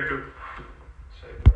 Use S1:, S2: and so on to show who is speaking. S1: you.